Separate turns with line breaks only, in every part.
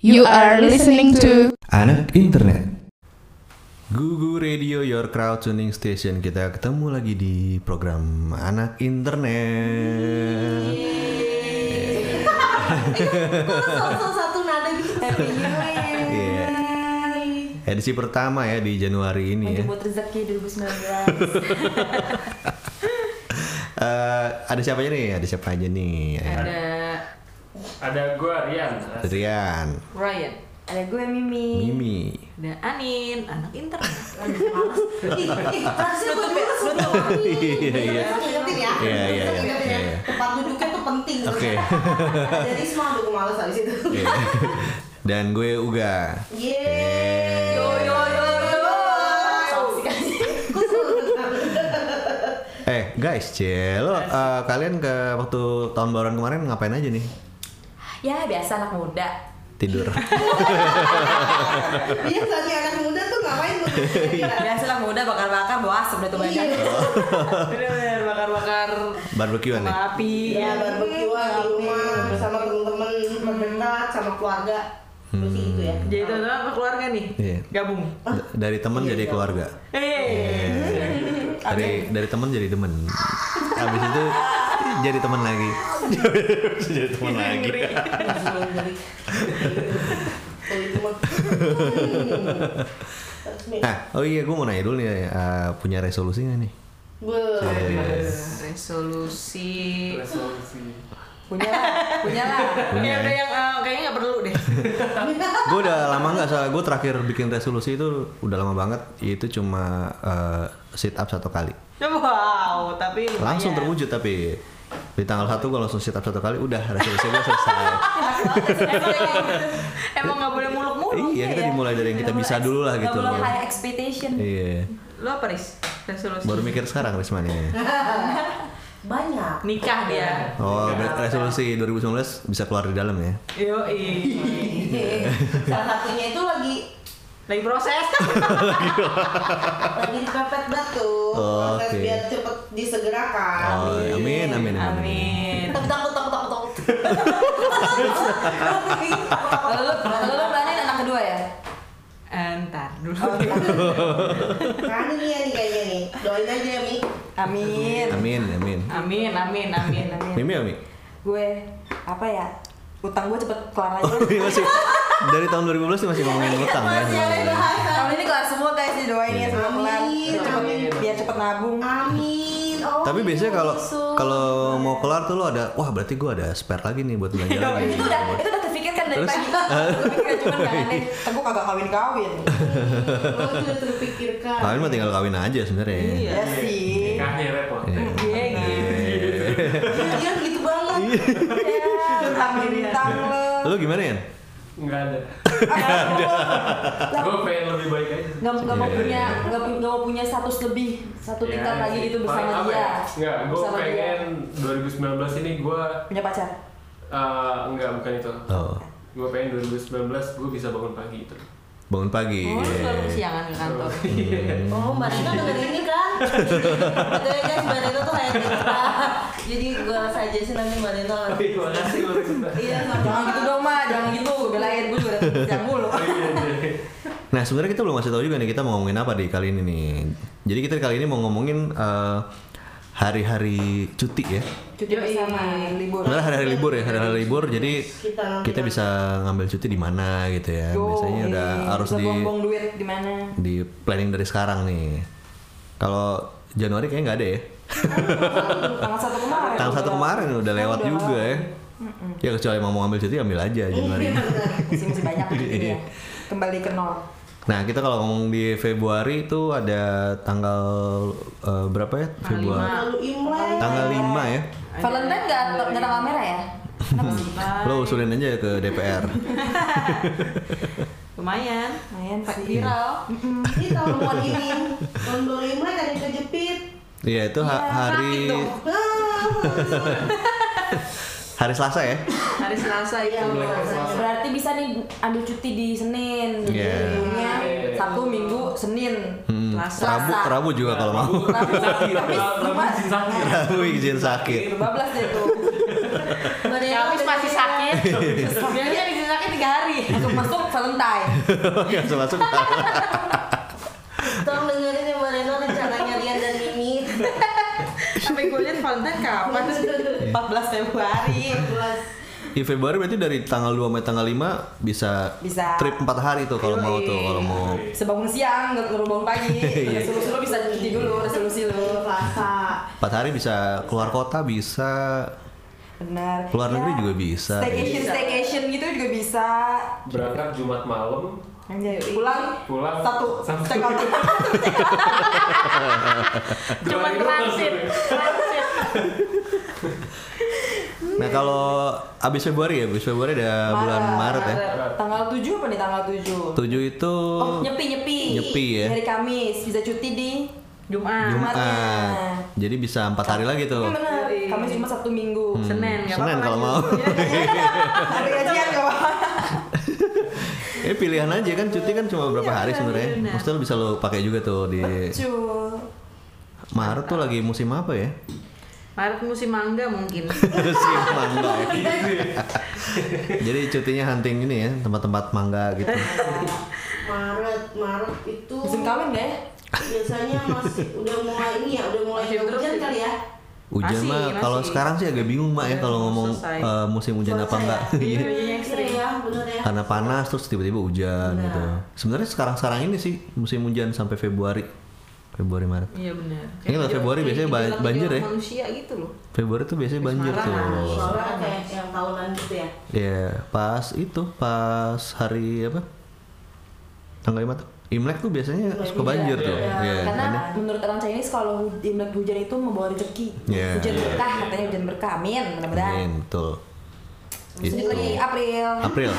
You are listening to
Anak Internet.
Gugu Radio Your Crowd Tuning Station kita ketemu lagi di program anak internet.
Satu satu nada gitu. Happy New Year.
Iya. Edisi pertama ya di Januari ini ya.
Untuk buat rezeki 2019.
Eh, ada siapa aja nih? Ada siapa aja nih? Ya. Ada
Ada gua Rian.
Rian,
Ryan
Ada gue Mimi.
Mimi.
dan Anin anak internet
Ih, ih, Harusnya gue dulu sebelum
Iya iya.
penting ya.
Iya, iya, iya,
Ingat
iya,
ya.
iya.
Tempat duduknya tuh penting.
Oke.
Jadi semua aku males habis itu.
Iya. Dan gue Uga.
Yeay. kan. Yo yo yo yo. Kok seru?
Eh guys, celo kalian ke waktu tahun baruan kemarin ngapain aja nih?
ya biasa anak muda
Tidur.
Biasa nih Iya, anak muda tuh ngapain tuh?
Iya.
Kira-kira.
biasa anak muda bakar-bakar bawa asap udah tuh
Iya.
banyak bener bakar-bakar
Barbekyuan nih.
sama api
Iya, barbekyuan di rumah bersama temen-temen terdekat sama keluarga. Terus sih itu ya.
jadi itu apa keluarga nih
Iya.
gabung
D- dari teman jadi keluarga.
eh
Iya. dari dari teman jadi demen habis itu jadi teman lagi jadi teman lagi
Tuh itu mah. Hmm. Terus nih.
nah oh iya gue mau nanya dulu nih eh, punya resolusi nggak nih
Beuh.
Iya.
Yes.
resolusi
Resolusi.
punya lah punya lah
Punya,
Ini ada
ya?
yang eh, kayaknya nggak perlu deh
gue udah lama nggak soal gue terakhir bikin resolusi itu udah lama banget itu cuma eh, sit up satu kali
wow tapi lumayan.
langsung terwujud tapi di tanggal satu gue langsung sit up satu kali udah resolusi gue selesai
emang nggak boleh muluk-muluk ya?
iya kita dimulai dari yang kita bisa dulu lah gitu
loh
loh
high expectation
iya
lo apa Riz? resolusi
baru mikir sekarang Rismanya
Banyak.
nikah dia
Oh, ber- resolusi 2019 bisa keluar di dalam ya.
yo
Salah satunya itu lagi
lagi proses
lagi dipepet batu
Oh, oke.
proses biar cepet disegerakan.
Oh, amin, amin, amin. amin.
amin
Tek tek tek tek tek.
lo lo berani anak kedua ya entar dulu
Kan ini ya nih kayaknya nih. Doain aja ya Mi.
amin
Amin, amin.
amin amin amin amin
Mimi, Mimi.
gue apa ya utang gue cepet kelar aja
Ini Oh, iya, masih dari tahun 2012 masih ngomongin utang
Iya,
ya.
tahun ini kelar semua guys didoain ya semua kelar
Amin,
cepet
amin. Iya.
biar cepet nabung
Amin. Oh,
Tapi biasanya kalau
Yesus.
kalau mau kelar tuh lo ada, wah berarti gua ada spare lagi nih buat belanja lagi.
itu udah itu udah terpikirkan dari
Terus?
pagi Gue mikirnya cuman gak aneh kan gue kagak kawin kawin
Oh, itu udah terpikirkan.
Kawin mah tinggal kawin aja sebenarnya.
iya sih
Nikahnya repot.
iya gitu
Iya gitu banget.
Iya. utang bintang lo
Lo gimana ya?
Enggak ada. Gue pengen lebih baik aja.
nggak nggak mau
Iya,
punya
iya.
nggak pu- nggak mau punya status lebih
Ya,
satu
Iya,
tingkat lagi gitu bersama dia
ya?
Enggak, gue
Bersama dia.
ya? pengen 2019 ini gue
punya pacar
eh enggak bukan itu.
Oh,
Gue pengen 2019 gue bisa bangun pagi itu.
bangun pagi.
Oh, lu
Iya.
selalu kesiangan ke kantor.
Oh, Mbak Rina denger ini kan? Katanya guys, Mbak Rina tuh kayak kita. Jadi gue suggestion nanti Mbak Rina.
Terima kasih Mbak Rita.
Iya, sama.
Jangan gitu dong, Ma. Jangan gitu. Belain gue juga udah siang mulu.
Nah sebenarnya kita belum kasih tahu juga nih kita mau ngomongin apa di kali ini nih. Jadi kita kali ini mau ngomongin eh, hari-hari cuti ya.
Cuti bersama libur.
Sebenarnya hari-hari libur ya, hari-hari libur. Jadi
Kita ngambil-
kita bisa ngambil cuti di mana gitu ya.
Yo,
Biasanya udah
iya.
harus
Bisa
di
buang-buang duit di mana?
di planning dari sekarang nih. Kalau Januari kayaknya nggak ada ya.
Tanggal satu kemarin.
Tanggal satu kemarin udah lewat juga ya. Ya kecuali emang mau ngambil cuti ambil aja Januari.
Iya.
Masih masih banyak gitu
Iya.
ya. Kembali ke nol.
Nah kita kalau ngomong di Februari itu ada tanggal eh, berapa ya? Februari.
Lalu Imlek.
Tanggal 5 ya.
Valentine nggak nggak tanggal merah ya
Lo usulin aja ke DPR.
Lumayan. Lumayan Pak viral.
Ini tahun buat ini. Tahun baru Imlek ada yang kejepit.
Iya itu ha- hari
Ah,
hari Selasa ya.
Hari Selasa
iya,
itu.
makasih.
berarti bisa nih ambil cuti di Senin Jadi
Iya.
minggunya
Sabtu, Minggu, Senin,
Hmm, Rabu
Selasa.
Rabu juga kalau mau.
Rabu.
Rabu, Rabu izin sakit.
Rabu izin sakit.
Iya, 12 deh tuh.
Mbak Rina
Kamis
ada
masih
yang-
sakit. ya. Biasanya di sakit 3 tiga hari masuk masuk Valentine
Oke, langsung masuk.
Tolong dengerin ya Mbak Reno rencananya Rian dan Mimi.
sampai gue liat Valentine kapan sih? 14 Februari
Di Februari berarti dari tanggal 2 sampai tanggal 5 bisa,
Bisa. Iya.
trip 4 hari tuh kalau mau tuh, kalau mau.
sebangun siang nggak perlu bangun pagi
Iya.
resolusi lo bisa cuci dulu resolusi lo
Rasa
4 hari bisa keluar kota, bisa
benar Ya,
Keluar negeri juga bisa.
staycation staycation gitu juga bisa
Berangkat Jumat malam,
Anjay, Iya, pulang
pulang
satu
Satu.
check out
Dua
Cuma
hari doang
transit.
sebenarnya.
Transit.
Nah, kalau abis Februari ya, abis Februari ada bulan Maret ya.
tanggal 7 apa nih tanggal 7
7 itu
oh nyepi nyepi
Gitu. Nyepi ya.
hari Kamis bisa cuti di Jumat
Jumat. Ah, Jadi bisa 4 hari lagi tuh.
Ini benar.
Yoi.
Kamis cuma Sabtu Minggu.
Oh. Hmm, Senin kalau mau.
Iya.
Ada ya, gajian nggak apa-apa.
Eh pilihan aja kan cuti kan
Iya,
cuma berapa hari sebenarnya.
benar.
Maksudnya bisa lo pakai juga tuh di
Cul.
Maret tuh lagi musim apa ya?
Maret musim mangga mungkin.
musim mangga. ya. Jadi cutinya hunting ini ya, tempat-tempat mangga gitu.
Maret, Maret itu
Musim kawin nggak ya?
biasanya masih udah mulai ini ya, udah mulai
Masih
hujan
terus ya?
kali ya.
Hujan
Masih,
mah kalau
masih.
sekarang sih agak bingung mak ya
Udah
kalau ngomong
selesai.
eh, musim hujan apa
ya?
enggak.
Iya, hujannya
Bener
ekstrim.
ya, bener ya.
Karena panas terus tiba-tiba hujan gitu. Sebenarnya sekarang-sekarang ini sih musim hujan sampai Februari. Februari Maret.
Iya benar.
Ini kalau
Kayak
Februari
jelang-
biasanya
kayak
ba- banjir
jelang
ya?
Manusia gitu loh.
Februari tuh biasanya banjir tuh.
Semarang.
Soalnya Nah, kayak yang tahunan gitu ya.
Ya, pas itu pas hari apa? Tanggal 5 tuh. Imlek tuh biasanya
Imlek
suka banjir
juga.
tuh.
Iya.
Iya,
Nah, Karena
makanya.
menurut orang Chinese kalau hu- Imlek hujan itu membawa rezeki.
Iya.
Hujan
Iya.
berkah katanya hujan berkah. Amin,
Amin,
mudah-mudahan.
Iya, betul. Gitu.
Sedikit lagi April.
April.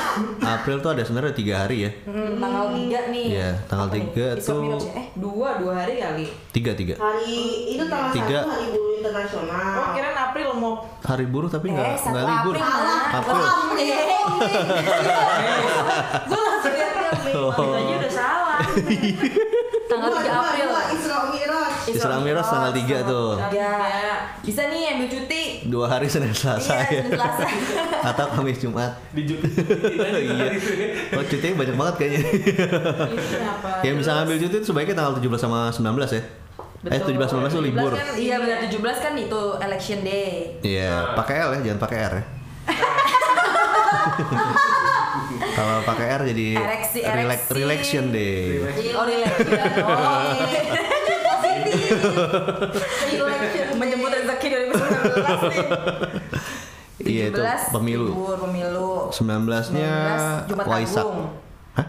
April tuh ada sebenarnya tiga hari ya.
Hmm, tanggal 3 nih.
Iya, tanggal
Apa nih?
tiga
Islam
tuh-
Miraj ya? Eh,
Dua dua hari kali.
Tiga tiga.
Hari itu tanggal
Tiga.
satu hari buruh
Ah.
Oh
internasional.
kirain April mau.
Hari buruh tapi
eh,
nggak
satu
nggak libur.
April. Mak.
April.
Wah, iya.
Gue langsung liat dia Mei.
Oh.
Itu aja udah salah.
Tanggal 3 April.
Dua, Isra Mi'raj.
Isra Mi'raj tanggal tiga tuh.
Tiga. Bisa nih ambil cuti.
Dua hari Senin Selasa
Iya,
ya.
Senin Selasa.
Atau Kamis Jumat.
Di Jogja.
Iya. Oh, cutinya banyak banget kayaknya.
Iya,
Ini kenapa?
Yang bisa ngambil cuti itu sebaiknya tanggal 17 sama 19 ya. Eh, 17 19 tuh
17
libur.
kan
Iya benar 17 kan itu election day.
Iya, pakai L ya, jangan pakai R ya. Kalau pakai R jadi
Ereksi,
relax,
ereksi.
relaxation deh.
Oh election. Oh, iya.
Election day.
Menyebut rezeki 2019 nih.
Iya itu
17
pemilu.
libur, pemilu.
19-nya
19 Jumat
Waisak.
Agung.
Hah?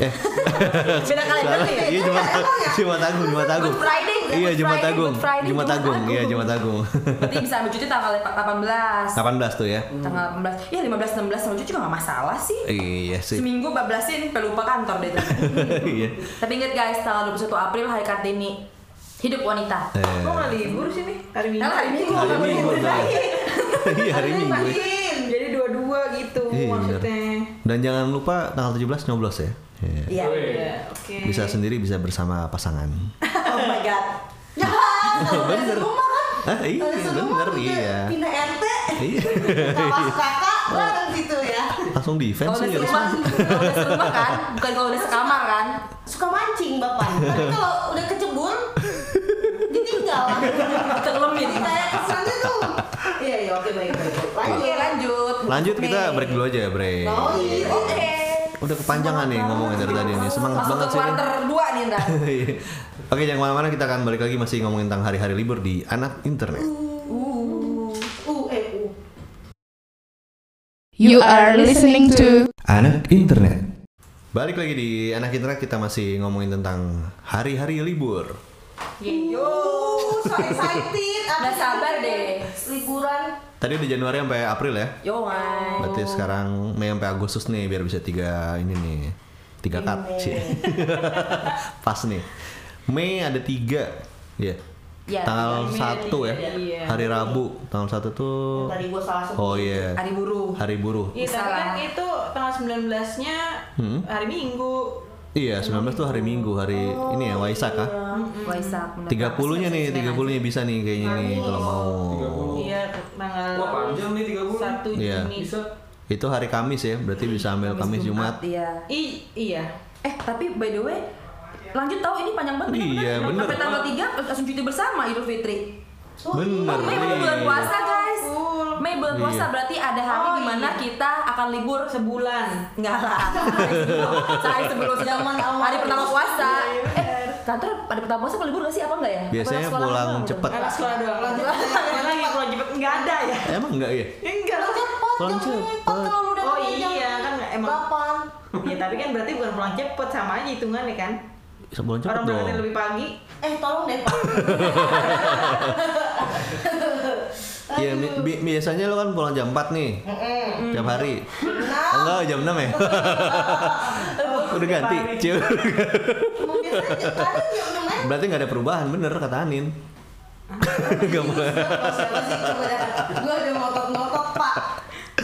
Eh,
Beda ya? kalender
salah.
nih.
Iya Jumat Jumat Agung, Jumat Agung.
Good Friday, Good
Iya Jumat
Friday,
Agung.
Good Friday,
Jumat
Jumat
Agung. Iya
Agung.
Jumat Agung.
Berarti bisa ambil cuti tanggal 18.
18 tuh ya.
Tanggal 18. Ya 15 16 sama cuti juga nggak masalah sih.
Iya sih.
Seminggu 14 ini lupa kantor deh.
Iya.
Tapi ingat guys, tanggal 21 April hari Kartini. Hidup wanita.
Eh,
Kok nggak libur sih nih? Hari Minggu. kan,
Karena hari Minggu
Hari
nggak boleh
Minggu,
libur
betul.
lagi.
Iya hari Minggu. ya.
Jadi dua-dua gitu
Iya, bener.
maksudnya.
Dan jangan lupa tanggal 17 nyoblos ya. Iya.
Iya.
Weh.
Ya, oke.
Bisa sendiri, bisa bersama pasangan.
Oh my god.
Ya,
Oh,
kalau udah serumah kan.
Hah, iya,
Kalau serumah
bener,
udah
iya.
ya, Pindah RT,
Iya.
kawas kakak, bareng gitu ya.
Langsung defense
Kalau
sih gitu.
udah
harusnya.
serumah, kalau udah serumah kan, bukan kalau udah sekamar kan.
Suka mancing bapak. Tapi kalau udah kecebur, ditinggal.
Terlemin.
Jadi kayak kesannya tuh. Iya iya oke baik baik.
Oke
Lanjut.
lanjut.
Lanjut kita break dulu aja, ya, break.
Oh iya.
Oke.
Udah kepanjangan nih ngomongnya dari tadi nih. Semangat
Masuk
banget
ke
sih. ini.
quarter 2 nih ntar.
Iya. Oke, jangan kemana-mana. Kita akan balik lagi masih ngomongin tentang hari-hari libur di anak internet.
U eh u.
You are listening to
Anak internet. Balik lagi di anak internet kita masih ngomongin tentang hari-hari libur.
Yo.
Oh, so excited. Apa
Nggak
sih?
sabar deh.
Liburan.
Tadi udah Januari sampai April ya.
Yo man.
Berarti sekarang Mei sampai Agustus nih biar bisa tiga ini nih tiga cut cie. pas nih Mei ada tiga ya
Ya,
Mei
tanggal
ada
satu ya
tiga, iya.
hari Rabu tanggal satu tuh
Tadi gua salah sebut.
oh iya
Hari buruh.
hari buruh
Iya, tapi
Salah.
kan itu tanggal 19-nya
Hmm.
hari Minggu.
iya 19 tuh hari Minggu hari ini ya Waisak ah
Waisak. bener.
30 nya nih 30 nya bisa nih kayaknya nih kalau mau
30.
Iya, tanggal
Wah, panjang nih
1
30.
Iya.
Juni.
Bisa
Itu hari Kamis ya, berarti bisa ambil Kamis, Jumat.
Iya.
I, iya.
Eh tapi by the way lanjut tahu ini panjang banget
Iya,
bener.
bener.
sampai tanggal 3 langsung cuti bersama Idul Fitri.
Bener.
Mei
nih.
bukan bulan puasa guys.
Cool.
Mei bulan puasa
Iya.
berarti ada hari
Oh,
dimana
iya.
kita akan libur
Sebulan.
Enggak lah. Sehari sebelum zaman hari pertama puasa. Eh, kantor pada pertama puasa kalau libur gak sih apa enggak ya?
Biasanya
Apa sekolah
pulang
doang gitu?
cepet.
Anak sekolah doang. Lanjut lanjut lagi kalau cepet nggak ada ya.
Emang enggak ya?
Ya, Enggak.
Pulang cepet,
Pulang
jam
cepet.
empat kalau kan lu udah
Oh
pulang jam
iya kan emang.
Delapan.
Ya tapi kan berarti bukan pulang cepet sama aja hitungannya kan.
Sebelum cepet
Orang
dong.
berangkatnya lebih pagi.
Eh tolong deh Pak.
Iya, bi- bi- biasanya lo kan pulang jam 4 nih. Tiap hari.
Nah,
Enggak, jam 6 ya. Udah ganti.
Panik.
Cil.
mau biasanya jam kadang jam enam aja.
Berarti nggak ada perubahan, bener kata Anin. Nggak mau.
Siapa sih coba dah. Gua udah ngotot-ngotot Pak.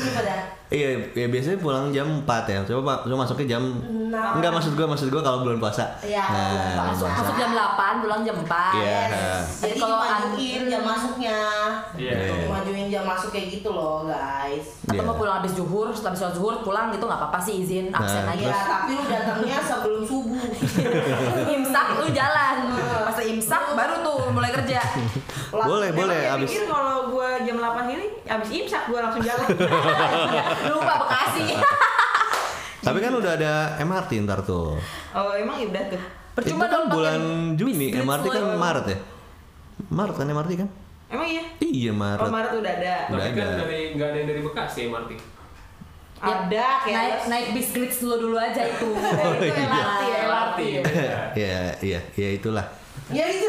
Coba dah.
Iya, ya biasanya pulang jam 4 ya. Coba Pak, lo masuknya jam
Enam.
Enggak maksud gua, maksud gua kalau bulan puasa.
Iya, bulan
Nah,
puasa.
bulan puasa.
Masuk jam 8, pulang jam 4.
Iya.
Jadi
Jadi kalau
majuin
an-
jam masuknya.
Iya.
Iya.
Majuin jam masuk kayak gitu loh, guys.
Atau
Iya.
mau pulang habis zuhur, setelah habis sholat zuhur pulang gitu nggak apa-apa sih izin absen
Nah,
aja.
Ya, tapi lu datangnya sebelum subuh.
imsak lu jalan. Pas imsak baru tuh mulai kerja.
Boleh, boleh
Emang gitu. dia
abis
pikir kalau gue jam 8 ini abis imsak gue langsung jalan.
Lupa Bekasi.
Tapi kan udah ada MRT ntar tuh.
oh emang ya udah tuh.
Itu
Percuma
kan
dong pakai
bulan Juni,
biskuit
MRT kan
semua.
Maret ya. Maret kan MRT kan?
Emang iya.
Iya
Oh
Maret.
Maret udah ada.
Udah
Tapi kan
ada.
dari nggak ada yang dari Bekasi ya Marti.
Ada kayak
Ya, naik naik bis glitch lo dulu aja itu. itu
iya.
LRT, LRT.
Iya.
ya, iya, ya itulah.
ya itu.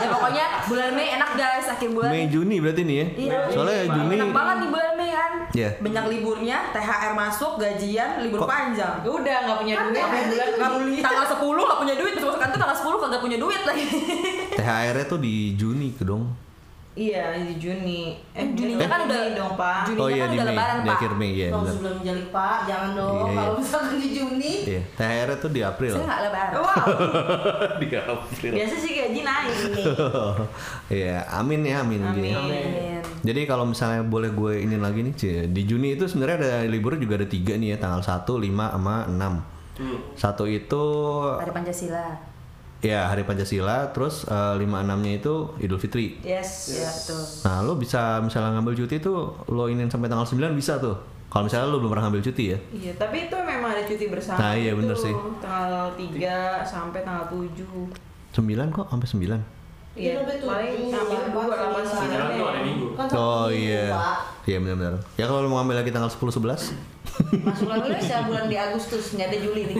Ya pokoknya bulan Mei enak guys, akhir bulan.
Mei Juni berarti nih ya.
Iya.
Soalnya
Mei,
Juni
Enak banget nih bulan Mei kan.
Iya.
Banyak liburnya, THR masuk, gajian, libur
Kok- Iya.
panjang.
udah nggak punya
Kan
duit sampai bulan Juli.
Tanggal 10 gak punya duit, masuk kantor tanggal 10 kagak punya duit lagi.
THR-nya tuh di Juni ke dong.
Iya di Juni.
Eh, Juninya kan udah
Juni dong pak.
Juni
Oh iya
kan
di
udah
Mei,
lebaran,
di
Pak.
akhir Mei ya.
Kalau
benar.
sebelum jalik Pak, jangan dong.
Iya, iya.
Kalau misalkan di Juni,
Iya, THR-nya tuh di April.
Saya gak lebaran.
Oh, Wow.
di April.
Biasa sih gaji naik.
Iya, amin ya, amin.
Amin.
Ji.
Amin.
Jadi kalau misalnya boleh gue ini lagi nih, Ci. di Juni itu sebenarnya ada liburnya juga ada tiga nih ya, tanggal 1, 5, sama 6.
Hmm.
Satu itu
Hari Pancasila.
ya hari Pancasila, terus eh, lima enamnya itu Idul Fitri.
Yes.
Iya, betul.
Nah, lo bisa misalnya ngambil cuti tuh lo ingin sampai tanggal 9 bisa tuh. Kalau misalnya lo belum pernah ngambil cuti ya.
Iya, tapi itu memang ada cuti bersama.
Nah, iya,
itu.
bener sih.
Tanggal 3 sampai tanggal 7.
9 kok sampai 9.
Iya,
Iya,
lebih tujuh,
paling sampai
delapan,
2 8
Sembilan tuh ada
9.
minggu.
kan Sabtu
Oh
Minggu,
iya.
Pak.
Iya benar-benar. Ya kalau lo mau ngambil lagi tanggal 10 11.
Masuk lagi bisa bulan di Agustus, nggak ada Juli nih.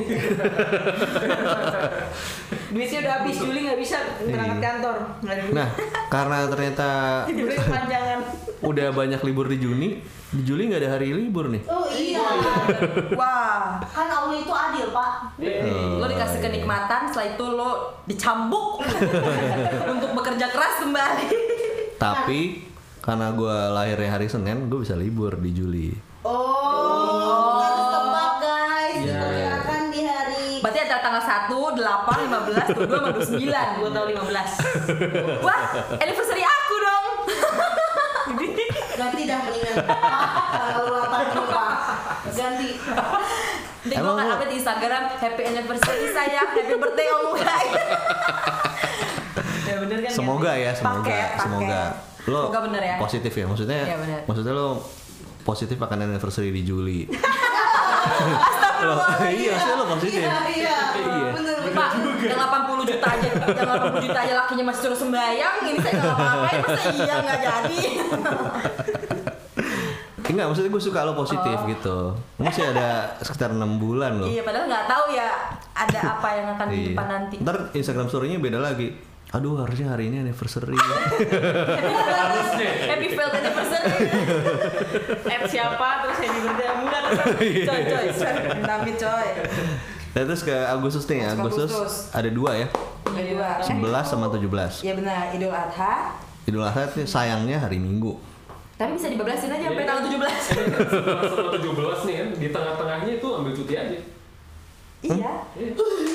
Duitnya udah habis, Juli nggak bisa berangkat
Iya.
kantor. Nggak ada duit.
Nah, karena ternyata
Liburnya kepanjangan.
udah banyak libur di Juni, di Juli nggak ada hari libur nih.
Oh iya.
Wah.
Kan Allah itu adil, Pak.
Oh,
Lo dikasih
iya.
kenikmatan, setelah itu lo dicambuk untuk bekerja keras kembali.
Tapi karena gue lahirnya hari Senin, gue bisa libur di Juli.
Oh, harus tebak guys.
Iya.
Diperkirakan di hari
Berarti ada tanggal 1, 8, 15, 22, sama 29. Gue tau 15. Wah, anniversary aku dong.
ganti dah mendingan. Kalau lu apa dulu, Pak. Ganti.
Nanti gue
Emang
akan
lo-
update di Instagram, happy anniversary sayang, happy birthday om Ugai.
Ya bener kan?
Semoga ya, semoga,
Iya. Pakai, pakai.
semoga. Lo
Semoga bener ya.
positif ya, maksudnya.
Iya, bener.
Maksudnya lo positif akan anniversary di Juli. lo,
Astagfirullahaladzim.
iya, maksudnya lo positif.
Iya, iya.
Iya.
Bener, bener.
Pak, yang 80 juta aja, yang 80 juta aja lakinya masih suruh sembayang, ini saya nggak ngapain, masa iya nggak jadi.
Enggak, maksudnya gue suka lo positif gitu. Masih ada sekitar enam bulan lo.
Oh. iya, padahal nggak tahu ya ada apa yang akan di
Iya.
depan nanti.
Ntar Instagram story-nya beda lagi. Aduh, harusnya hari ini anniversary. Nah,
Happy failed anniversary.
App siapa terus yang diberdaya bulan.
Iya.
coy, coy, coy, tapi coy.
Nah, terus ke Agustus nih, ya.
Agustus.
Agustus ada dua ya,
Yang kedua.
11 sama 17.
Ya benar, Idul Adha.
Idul Adha tuh sayangnya hari Minggu.
Tapi bisa dibablasin aja sampai tanggal 17.
tujuh belas nih kan di tengah-tengahnya itu ambil cuti aja.
Iya.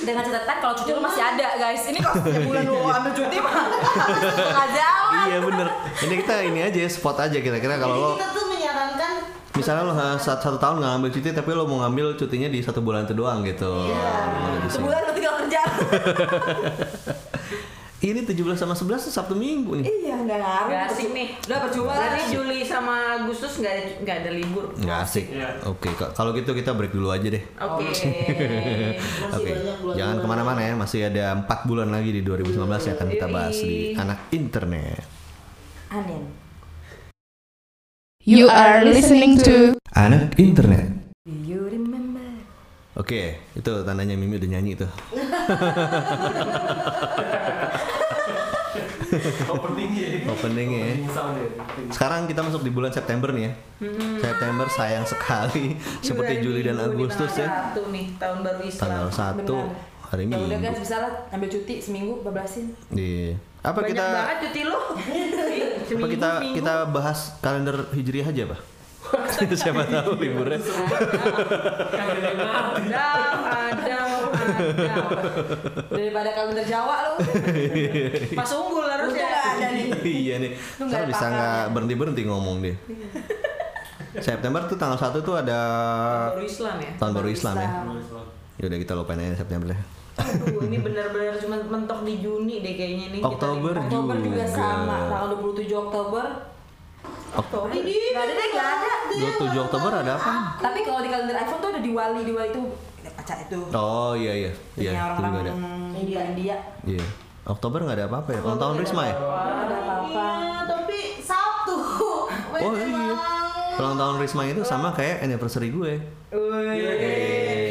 Dengan catatan kalau cuti lu masih ada, guys. Ini kalau setiap bulan lu ambil cuti mah nggak jalan. Iya.
Iya bener. Ini kita ini aja ya, spot aja kira-kira kalau
Jadi
lo
kita tuh menyarankan
misalnya lo ha, sat- satu tahun nggak ngambil cuti tapi lo mau ngambil cutinya di satu bulan itu doang gitu.
Iya.
Nah, gitu sih.
Sebulan lo tinggal kerja.
Ini 17 sama 11 tuh Sabtu Minggu nih.
iya, enggak ngaruh.
Nggak asik nih.
Udah percuma.
Berarti Juli sama Agustus nggak ada- nggak ada libur.
Nggak asik.
Iya.
Oke, ka- kalau gitu kita break dulu aja deh.
Oke.
Masih
Oke,
banyak bulan
jangan kemana-mana ya. Masih ada empat bulan lagi di 2019 yang akan
Iya.
kita bahas di
Yoi.
anak internet.
Anin.
You are listening to
Anak internet.
Do you remember?
Oke, itu tandanya Mimi udah nyanyi tuh.
Opening ya.
Openingnya ya.
Opening sound ya. Opening.
Sekarang kita masuk di bulan September nih ya.
Hmm.
September sayang sekali seperti Juli dan Agustus ya.
Satu nih tahun baru Islam.
Tanggal 1
Benar.
hari
Ya udah
Minggu.
guys, bisa lah ambil cuti seminggu bablasin.
Di apa
Banyak
kita
banget cuti lo.
apa kita kita bahas kalender Hijriah aja, Pak? Siapa tahu liburnya.
Adam, Adam, Adam.
Daripada kalender Jawa lu. ya.
Mas unggul harusnya.
Harusnya enggak ada nih.
iya nih.
Lu nggak
Ntar
ada
bisa
pakarnya.
nggak berhenti berhenti ngomong deh.
Iya.
September tuh tanggal 1 tuh ada
Baru Islam ya.
tahun baru Islam ya.
Opening sound.
Yaudah kita lupain aja September
Iya,
deh.
Aduh, ini benar-benar cuma mentok di Juni deh kayaknya nih.
Oktober
Oktober juga sama, tanggal 27 Oktober. Oh,
Oktober.
Enggak ada deh, enggak ada.
27 Oktober ada apa?
Tapi kalau di kalender iPhone tuh ada Diwali, Diwali itu kaca itu.
Oh iya iya iya itu
Punya
juga ada.
orang-orang India India.
Iya. Oktober nggak ada apa-apa ya. Ulang tahun Risma ya.
Ada apa-apa.
Iya, tapi Sabtu.
Oh iya. Ulang tahun Risma itu sama kayak anniversary gue.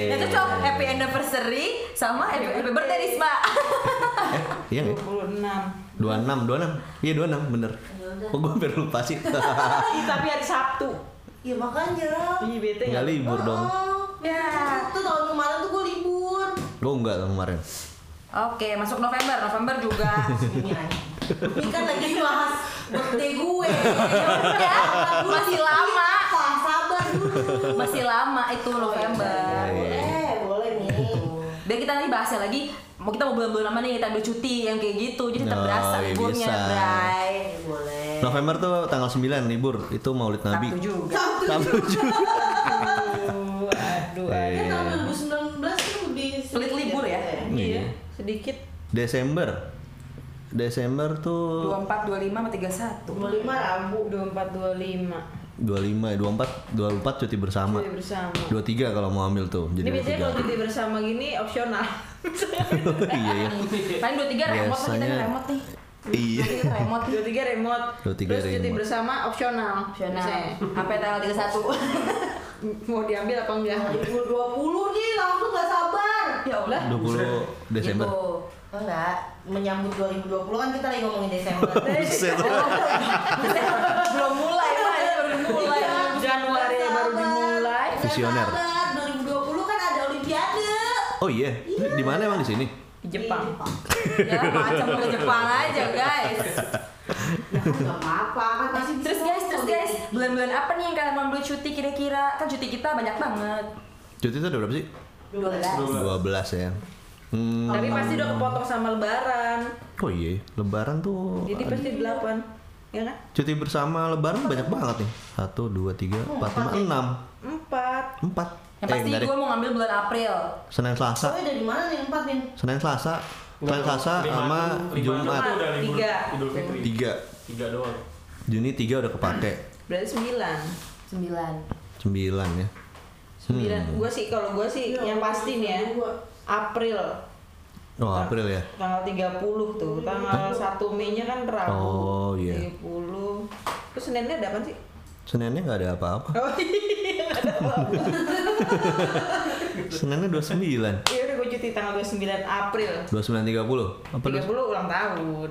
Ya cocok happy anniversary sama happy, happy birthday Risma.
Eh, iya nggak? ya?
26.
26, 26. Iya 26 bener. Kok gue hampir lupa sih.
Ih, tapi hari Sabtu.
Ya makanya.
Ih, bete
Nggak
ya.
Iya, libur dong.
Ya. Sabtu tahun kemarin tuh gue libur.
Gue nggak tahun kemarin.
Eh.
Oke, masuk November. November juga.
Iya. Ini kan lagi bahas birthday gue.
ya, masih lama.
Apa? Sabar dulu.
Masih lama itu November.
Iya,
Boleh, boleh nih.
Biar kita nanti bahasnya lagi, mau kita mau bulan-bulan lama nih kita ambil cuti yang kayak gitu. Jadi tetap
Oh,
berasa
iya
liburnya,
bisa.
Bray.
Eh, Boleh.
November tuh tanggal 9 libur. Itu Maulid Nabi.
Sabtu juga.
Sabtu juga.
Aduh, aduh.
Kan
Eh,
tahun 2019 tuh lebih
Pelit libur ya.
Iya.
Iya, sedikit.
Desember. Desember tuh
24, 25, sama 31.
25 Rabu.
24 25.
25, 24, 24 cuti bersama.
Cuti bersama.
23 kalau mau ambil tuh.
Ini
Jadi
biasanya kalau
23.
cuti bersama gini opsional.
Iya ya.
Paling 23 remote, nih, kita
Biasanya-
nih remote nih.
Iya.
Kita remote nih.
23 remote.
23
Terus cuti
remote.
bersama opsional.
Opsional.
Biasanya.
Apa tanggal 31?
Mau diambil apa enggak?
2020 nih langsung gak sabar.
ya Allah.
20 Desember.
Gitu.
Oh, Enggak, menyambut 2020 kan kita lagi ngomongin Desember.
Buset.
Iya.
belum mulai Pak. Ini baru mulai
Iya.
Januari baru dimulai.
Visioner.
Sabar, 2020 kan ada Olimpiade. Iya,
Oh iya, di mana emang di sini?
Di Jepang.
ya macam mau ke Jepang aja guys
Ya kan nggak apa-apa kan pasti bisa
terus guys terus
ngomong.
guys bulan-bulan apa nih yang kalian mau ambil cuti kira-kira kan cuti kita banyak banget
Cuti itu ada berapa sih?
12.
12 ya. Hmm.
Iya. Tapi pasti udah kepotong sama lebaran.
Oh iya, lebaran tuh
Jadi
Oh, ada-
pasti 8. Ya kan?
cuti bersama lebaran banyak banget nih. 1 2 3 4
4.
5 6 4.
Oh, ya? yang pasti
Eh, enggak deh.
gue mau ngambil bulan April
Senin
Oh,
Selasa.
dari mana nih empat nih?
Senin Selasa, Senin Selasa
Lima
sama
tuh- lima tuh
Jumat.
udah libur
Tiga.
Idul Fitri.
3.
Tiga doang.
Juni 3 udah kepake.
Berarti 9.
9
9 ya.
sembilan
Hmm.
gue sih kalau gue sih yang pasti nih ya April
Oh,
Nah.
April ya.
tanggal 30 tuh tanggal 1 Mei nya kan Rabu
Oh, iya.
30 terus Seninnya ada apa sih
Seninnya nggak ada apa-apa.
oh iya nggak ada apa-apa.
Seninnya 29.
iya udah gue cuti tanggal 29 April
29.30. Apa
30 ulang tahun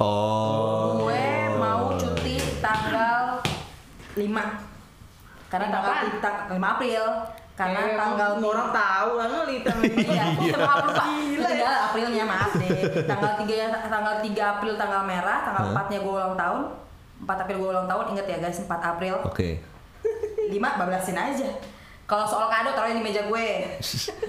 Oh.
gue mau cuti tanggal 5 karena
Lima apaan?
tanggal tang- 5 April karena
Eh,
tanggal
mau orang tahu lah ngeli
Iya, aku maaf lupa.
Gila ya.
Tanggal Aprilnya maaf deh. Tanggal 3 tanggal 3 April tanggal merah, tanggal 4-nya gue ulang tahun. 4 April gue ulang tahun, inget ya guys, 4 April.
Oke.
5 bablasin aja. Kalau soal kado taruhin di meja gue.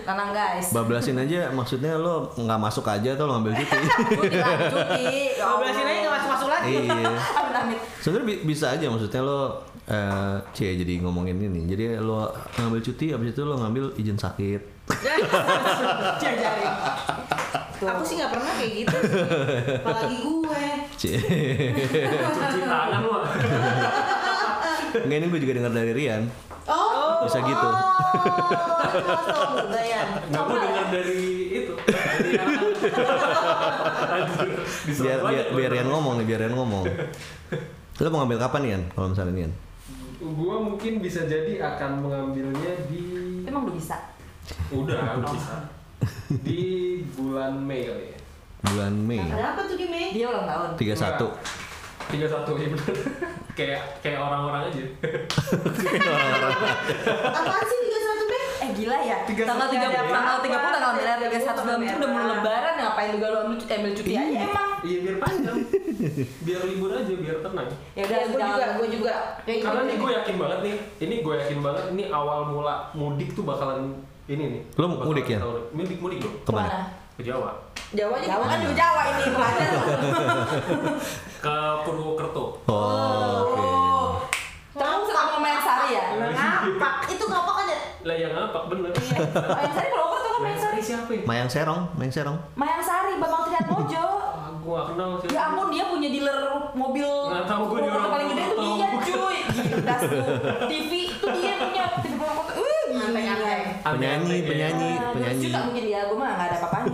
Tenang guys.
Bablasin aja maksudnya lo nggak masuk aja atau lo ngambil cuti.
Cuti lah, cuti. Ya Ah,
Kalau belasin aja nggak masuk masuk lagi.
iya.
Amit amit.
Sebenarnya bi- bisa aja maksudnya lo eh cie jadi ngomongin ini. Jadi lo ngambil cuti abis itu lo ngambil izin sakit.
Iya.
Diajarin. Aku sih nggak pernah kayak gitu. Apalagi gue.
Cie.
Ya, cuci tangan lo
Nggak ini gue juga dengar dari Rian.
Oh,
Bisa gitu.
nggak gue dengar dari itu dari anak. Anjir, diserang ya,
Biar biar,
banyak
biar
gua.
Rian ngomong nih, biar Rian ngomong. Lo mau ngambil kapan Rian? Kalau misalnya Rian?
Gua mungkin bisa jadi akan mengambilnya di
Emang udah bisa.
udah udah bisa di bulan Mei kali ya
Bulan Mei.
Ada apa tuh di Mei?
Dia ulang tahun.
31.
tiga satu ya bener. kayak kayak orang-orang aja
Apaan sih 31 Mei?
Eh gila ya.
Tiga
tanggal
satu
tiga
ada apa?
tanggal tiga puluh tanggal merah tiga satu
Tanggal
belum itu udah mau
merah.
lebaran ngapain juga lu ambil cuti ambil cuti aja emang.
iya biar panjang biar libur aja biar tenang
Ya udah
Ya, gue juga, gue juga. Ya,
karena ini gue yakin banget nih ini gue yakin banget ini awal mula mudik tuh bakalan ini nih
Lo mudik ya?
mudik mudik lo
Kemana?
ke Jawa
Jawa aja.
Jawa kan juga Jawa ini Banyak
ke Purwokerto
Oh, oke.
Oh.
Kamu suka sama main sari ya?
Iya.
Ngapak. Itu ngapak
kan
ada.
lah yang apa bener
Mayang sari kalau tuh kan main sari.
Nah, siapa ya?
Mayang Serong, Mayang Serong.
Mayang sari Bambang Triat Mojo.
Ah, gua nggak kenal siapa.
Ya ampun dia punya dealer mobil
Nggak tahu gue di
Purwokerto
orang
paling gede tuh
Purwokerto.
dia cuy. Gila lu. TV itu dia punya TV Purwokerto. Uh, gila.
Aneh-aneh.
Penyanyi,
Aneh-aneh.
penyanyi,
Ah, 200
penyanyi.
juta mungkin ya, gue mah nggak ada apa-apanya.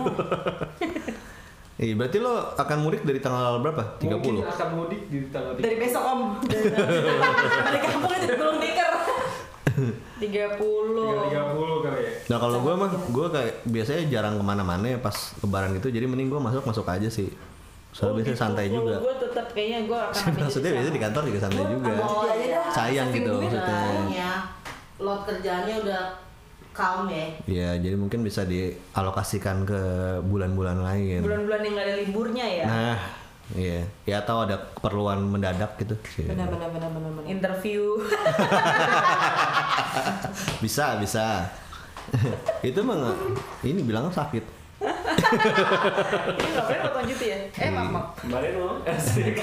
Eh, berarti lo akan mudik dari tanggal berapa? 30.
Mungkin akan mudik di tanggal 30.
Dari besok om. Dari kampung itu belum diker.
Tiga puluh.
30 kali ya.
Nah kalau gue mah, gue kayak biasanya jarang kemana-mana ya pas lebaran gitu, jadi mending gue masuk-masuk aja sih.
Oh,
Oh,
Soalnya biasanya
gitu.
santai juga.
Gue tetap gitu. kayaknya gue akan. ambil
Maksudnya
cuti
biasanya di
sama.
kantor juga santai juga.
Oh, iya, iya.
Sayang gitu
Saving duit
maksudnya.
lah.
Ya, lot kerjaannya udah calm ya.
Ya jadi mungkin bisa dialokasikan ke bulan-bulan lain.
Bulan-bulan yang nggak ada liburnya ya.
Nah, iya. Ya atau ada keperluan mendadak gitu. sih.
Benar benar benar benar benar.
Interview.
Bisa, bisa. itu mah nggak- ini bilangnya sakit.
Ini nggak boleh potong cuti ya? Eh maaf.
Mbak Reno, asik.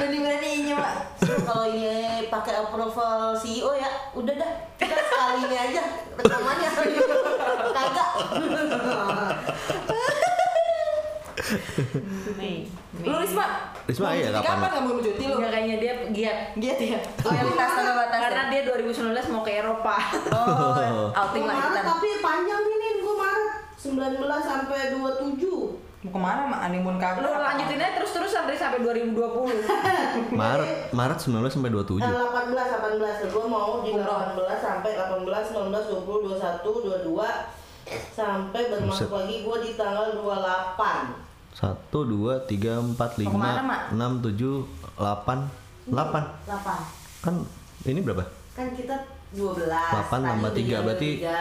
Berani beraninya mak.
Kalau ini pakai approval CEO ya, udah dah. Kita sekali ini aja rekamannya. Kagak.
Mei.
Lu Risma?
Risma,
mau
iya,
cuti
kapan?
Kapan kamu mau cuti lu?
Enggak Oh, kayaknya dia giat.
Iya, Giat ya.
Loyalitas
Loyalitas tanpa batas.
Karena dia 2019 mau ke Eropa.
oh, outing
Gua
lah
Maret
kita.
tapi panjang nih Nin, gua Maret 19 sampai 27.
Mau kemana mak? Honeymoon kapan?
Lu lanjutin aja terus-terus sampai sampai 2020.
Maret, Maret 19 sampai
Eh,
27.
18, 18 Gue mau di
Umroh.
18 sampai 18, 19, 20, 21, 22 Sampai bermasuk
Buset.
lagi gue di tanggal 28
Satu, dua, tiga, empat, lima,
kemana, Mak?
enam, tujuh, delapan, delapan.
8
Kan ini berapa?
Kan kita 12
Delapan
Tadi
tambah
udah
tiga,
jam
berarti-
tiga.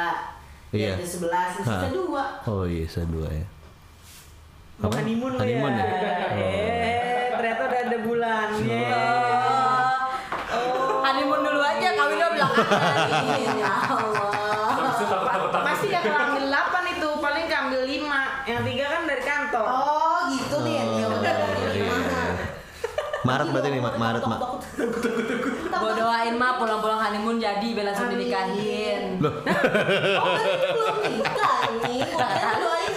Iya.
Jam 11, sisa
Hah.
2
Oh iya, saya dua ya.
Mau
Apa?
honeymoon lu ya.
Honeymoon ya?
Eh, ternyata udah ada bulan.
Iya.
Iya.
Oh. Honeymoon dulu aja, kawin lu belakangan. Ya Allah.
Habis itu takut-takutan.
Pasti gak ke ambil 8 itu, paling ke ambil 5. Yang 3 kan dari kantor.
Oh gitu nih Ya udah
Oh, iya. Maret berarti nih, Ma- Maret, Mak.
Gua doain mah pulang-pulang honeymoon jadi bela langsung dinikahin.
Oh kan ini belum nikah nih Udah doain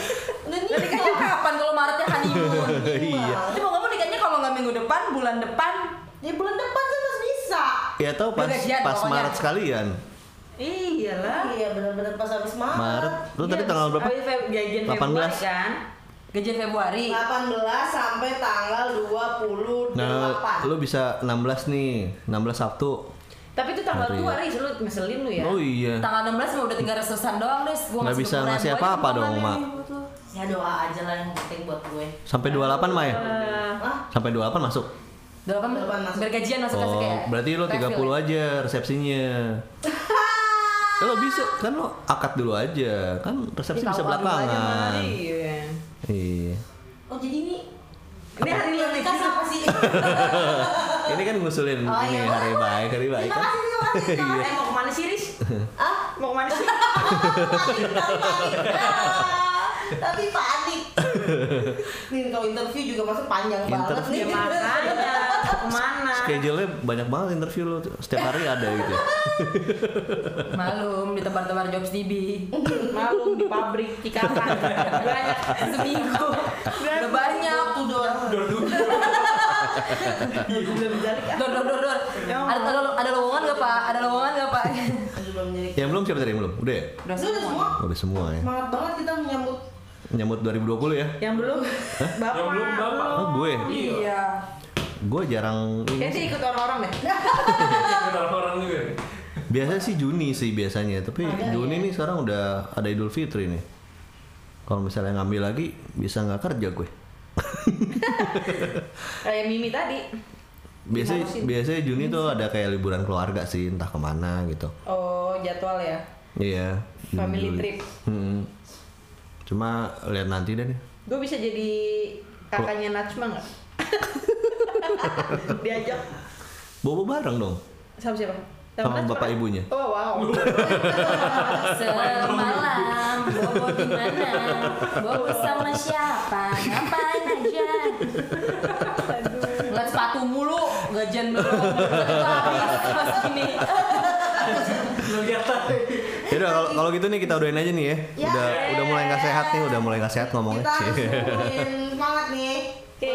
Udah nikah
Nikahnya kapan kalau Maretnya honeymoon?
Iya.
Tapi mau ngomong nikahnya kalau nggak minggu depan, bulan depan.
Di bulan depan kan harus bisa
Ya tahu pas
Gajian
pas
pokoknya.
Maret sekalian.
Iyalah.
Iya bener-bener pas habis
Maret. Lu tadi
Iya,
tanggal berapa?
Habis Feb- gajian
18.
Februari kan.
Gajian Februari.
18 sampai tanggal 28.
Nah, lu bisa 16 nih, 16 Sabtu.
Tapi itu tanggal
Hari.
2 Riz, lu ngeselin lu ya.
ya. Oh iya.
Tanggal 16 mah udah tinggal resesan doang, Des. Gua
Nggak bisa
syukuran.
ngasih
Gua aja
apa-apa
belum
dong,
ada
Mak.
nih buat lu.
Ya doa aja lah yang penting buat gue.
Sampai 28 mah ya? Sampai 28 masuk.
28 masuk.
Delapan bergajian masuk kasih
Oh,
kayak.
berarti lo 30
refill ya.
aja resepsinya. Eh, lo bisa kan lo akad dulu aja. Kan resepsi
Ih,
bisa
tahu aja
belakangan.
Iya.
Iya.
Oh jadi ini
Ini hari lu
nikah
nikah.
apa sih?
Oh, iya.
Ini kan ngusulin ini hari baik, hari baik. Iya.
Terima kasih, terima kasih.
Eh mau kemana sih Riz?
Ah,
mau kemana sih?
Panik, bukan panik. Ah, tapi panik nih kalau interview juga masuk panjang banget
Interview.
nih
Ya makanya kemana?
Kan Schedule-nya banyak banget interview lo setiap hari ada gitu.
Malum ditebar-tebar jobs DB.
Malum di pabrik Cikarang. Banyak
Seminggu. Udah banyak.
Iya. tuh doang
Dor dulu.
Dor dor dor dor.
Ya
Ada ada, ada lowongan nggak pak? Ada lowongan nggak pak?
sebelum jadi
Yang belum siapa tadi yang belum? Udah ya?
udah semua
Udah semua ya.
semangat banget kita menyambut
Nyambut 2020 ya.
Yang belum bapak.
Yang belum bapak.
Oh, gue.
Iya.
Gue jarang
Kayaknya sih ikut orang-orang deh. Nah,
Kenal orang juga. nih.
Biasanya sih Juni sih biasanya, tapi
ya.
Juni nih sekarang udah ada Idul Fitri nih. Kalau misalnya ngambil lagi bisa nggak kerja gue.
Kayak Mimi tadi.
Biasanya biasanya Juni tuh ada kayak liburan keluarga sih, entah kemana gitu.
Oh jadwal ya.
Iya.
Family
Juli.
trip.
Mm-mm. Cuma lihat nanti deh. nih.
Gue bisa jadi kakaknya Najma nggak? Diajak
Bobo bareng dong.
sama siapa?
Sama
Najma.
bapak ibunya.
Oh wow.
Semalam bobo di mana? Bobo sama siapa? Ngapain aja? Ngeliat sepatu mulu, gajian belum. Itu habis pas gini.
Ya udah kalau kalau gitu nih kita udahin aja nih ya.
Ya.
Udah udah mulai nggak sehat nih, udah mulai nggak sehat ngomongnya.
kita harus ngumpulin semangat nih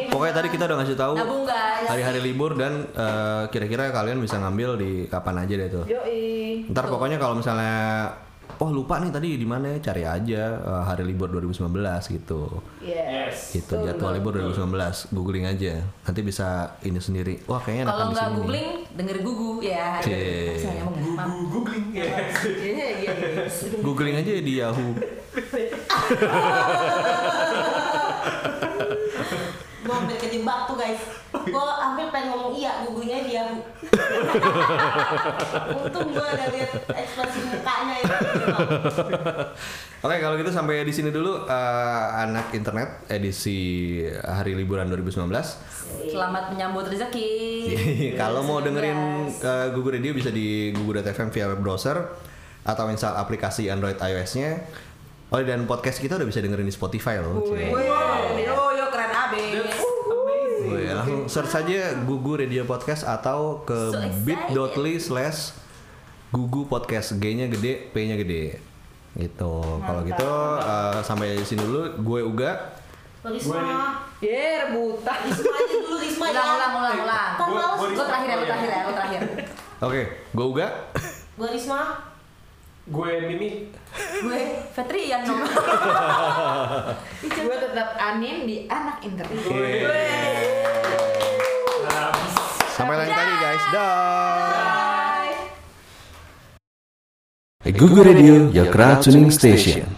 Pokoknya tadi kita udah ngasih tahu
Nabung guys.
hari-hari libur dan eh, kira-kira kalian bisa ngambil di kapan aja deh tuh.
Yoi.
Ntar pokoknya kalau misalnya oh lupa nih tadi di mana ya, cari aja eh, hari libur 2019 gitu.
Yes.
Gitu jadwal libur 2019 googling aja. Nanti bisa ini sendiri. Wah kayaknya enakan di
Kalau nggak
sini. nih.
googling, denger gugu ya.
Oke.
Saya mau
Google googling. Yes.
Iya iya. iya.
Googling aja ya di Yahoo.
gue hampir kejebak tuh guys gue hampir pengen ngomong iya gugunya dia Bu. untung gue ada lihat ekspresi mukanya ya. itu
Oke, kalau gitu sampai di sini dulu eh, anak internet edisi hari liburan 2019.
Selamat menyambut rezeki.
Iya, Kalau mau dengerin uh, Gugu Radio bisa di gugu.fm via web browser atau install aplikasi Android iOS-nya. Oh dan podcast kita udah bisa dengerin di Spotify loh. Cie.
Yo yo keren
Wih,
abis.
Oh iya, langsung search saja Gugu Radio Podcast atau ke
So excited.
bit.ly slash Gugu Podcast G-nya gede, P-nya gede. Gitu. Kalau gitu uh, sampai di sini dulu gue Uga.
Risma
Ye rebutan.
Risma aja dulu Risma ya
Ulang ulang ulang ulang.
Kan males.
Lo terakhir ya, lo terakhir ya, lo terakhir.
Oke, gue Uga.
gue Risma
Gue Mimi.
Gue Fetrian dong.
Gue tetap anin di anak internet.
Habis.
Sampai lain kali guys. Dah.
Bye.
Google Radio, your crowd tuning station.